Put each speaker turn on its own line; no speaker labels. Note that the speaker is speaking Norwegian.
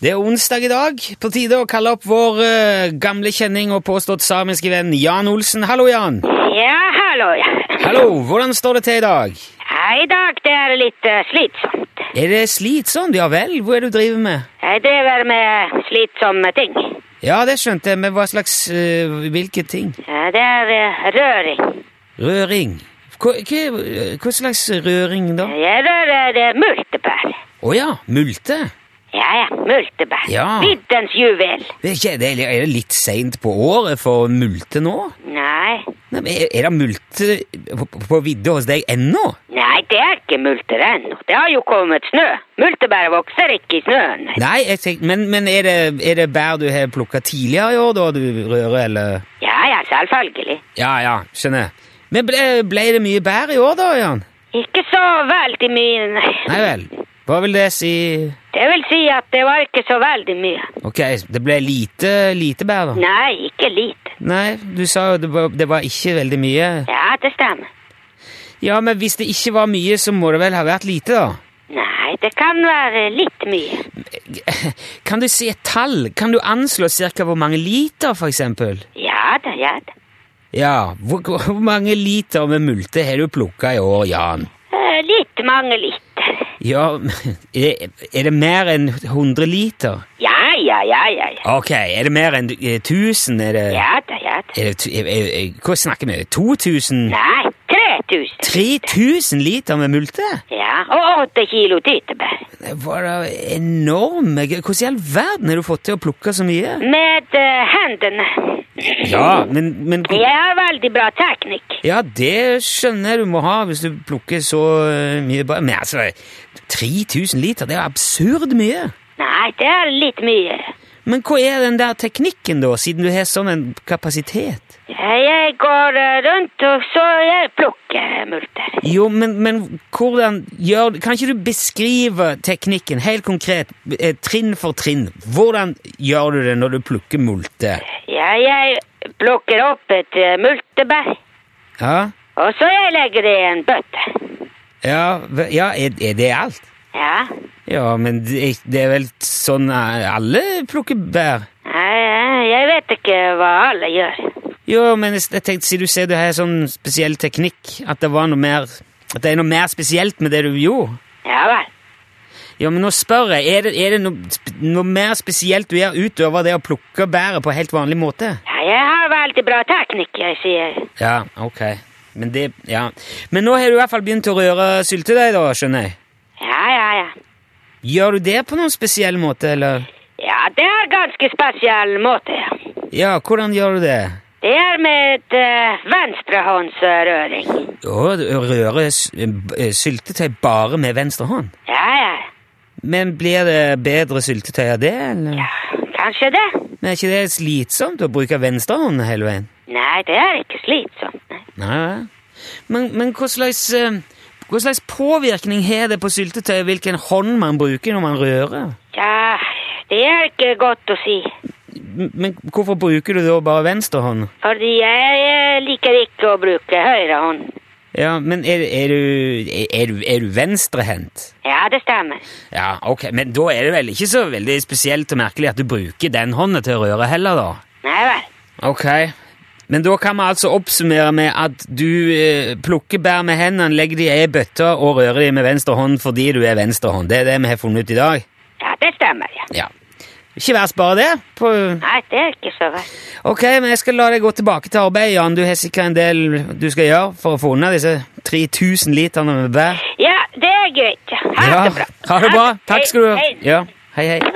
Det er onsdag i dag. På tide å kalle opp vår eh, gamle kjenning og påstått samiske venn Jan Olsen. Hallo, Jan.
Ja, hallo, ja.
Hallo, hvordan står det til i dag?
Ja, I dag det er litt eh, slitsomt.
Er det slitsomt? Ja vel, hva er det du driver med?
Jeg driver med slitsomme ting.
Ja, det skjønte jeg, men hva slags eh, Hvilke ting?
Ja, Det er eh, røring.
Røring. Hva, hva, hva slags røring, da?
Jeg rører eh, multebær.
Å ja, multe.
Ja, ja, multebær.
Ja.
Viddens juvel.
Det er, ikke, det er- er det litt seint på året for multe nå?
Nei,
Nei, men er, er det multe på, på- på vidde hos deg ennå?
nei, det er ikke multer ennå. Det har jo kommet snø. Multebær vokser ikke i snøen. nei.
Nei, jeg tenk, men, men er, det, er det bær du har plukka tidligere i år, da du rører, eller
Ja, ja, selvfølgelig.
Ja, ja, skjønner. Men ble, ble det mye bær i år, da, Jan?
Ikke så veldig mye,
Nei
nei.
vel. Hva vil det si
Det vil si at det var ikke så veldig mye.
Ok, det ble lite, lite bær, da?
Nei, ikke lite.
Nei, du sa jo det var, det var ikke veldig mye.
Ja, det stemmer.
Ja, men hvis det ikke var mye, så må det vel ha vært lite, da?
Nei, det kan være litt mye.
Kan du si et tall? Kan du anslå cirka hvor mange liter, for eksempel?
Ja da, ja da.
Ja, hvor, hvor mange liter med multe har du plukka i år, Jan?
Eh, Litt mange liter.
Ja, er er det mer enn 100 liter?
Ja, ja, ja, ja. Ja,
Ok, er det mer enn eh, 1000? Er det,
ja da, ja da.
er det, tu- er, er, er, hva snakker vi? 2000?
Nei, 3000.
3000 liter med multe?
Ja, og åtte kilo tyttebær.
Det var da enorme Hvordan i all verden har du fått til å plukke så mye?
Med eh, hendene.
Ja, men, men
Jeg har veldig bra teknikk.
Ja, det skjønner jeg du må ha hvis du plukker så eh, mye bær. Men altså, 3000 liter, det er jo absurd mye.
Nei, det er litt mye.
Men hva er den der teknikken, da, siden du har sånn en kapasitet?
Jeg går eh, rundt, og så jeg plukker multer.
Jo, men, men hvordan gjør Kan ikke du beskrive teknikken helt konkret, eh, trinn for trinn? Hvordan gjør du det når du plukker multe?
Ja, jeg plukker opp et eh, multebær,
Ja,
og så jeg legger det i en bøtte.
ja, ve- ja er, er det alt?
Ja,
Ja, men det, det er vel sånn eh, alle plukker bær?
Nei, eh, jeg vet ikke hva alle gjør.
Jo, men jeg s- jeg tenkte, siden du sier du har sånn spesiell teknikk, at det var noe mer At det er noe mer spesielt med det du gjorde.
Ja vel.
Ja, men nå spør jeg, er det, er det noe, sp- noe mer spesielt du gjør utover det å plukke bæret på helt vanlig måte?
Ja, jeg har veldig bra teknikk, jeg sier.
Ja, ok. Men det Ja. Men nå har du i hvert fall begynt å røre syltedeig, da, skjønner jeg.
Ja, ja, ja.
Gjør du det på noen spesiell måte, eller?
Ja, det er ganske spesiell måte, ja.
Ja, hvordan gjør du det?
Det er med et eh, venstrehåndsrøring.
Å, du rører s- eh, syltetøy bare med venstre hånd?
Ja, ja,
Men blir det bedre syltetøy av det, eller?
ja. Kanskje det?
Men er ikke det slitsomt å bruke venstrehånden hele veien?
Nei, det er ikke slitsomt. nei.
Nei, nei. Men, men hva slags, eh, hva slags påvirkning har det på syltetøyet hvilken hånd man bruker når man rører?
Ja, det er ikke godt å si.
M- Men hvorfor bruker du da bare venstrehånd?
Fordi jeg eh, liker ikke å bruke høyre hånd.
Ja, men er, er du, er, du, er du venstrehendt?
Ja, det stemmer.
Ja, ok, men da er det vel ikke så veldig spesielt og merkelig at du bruker den hånden til å røre heller, da?
Nei vel.
Ok. Men da kan vi altså oppsummere med at du eh, plukker bær med hendene, legger de i bøtter og rører de med venstre hånd fordi du er venstre hånd. Det er det vi har funnet ut i dag.
Ja, det stemmer, ja.
Ja. Ikke verst bare det. På...
Nei, det er ikke så verst.
Ok, men jeg skal la deg gå tilbake til arbeid, Jan. Du har sikkert en del du skal gjøre for å få unna disse 3000 literne med bær.
Ja, det er greit. ja. Ha det bra.
Ha det bra. Takk skal du ha.
Hei, hei.
Ja. Hei, hei.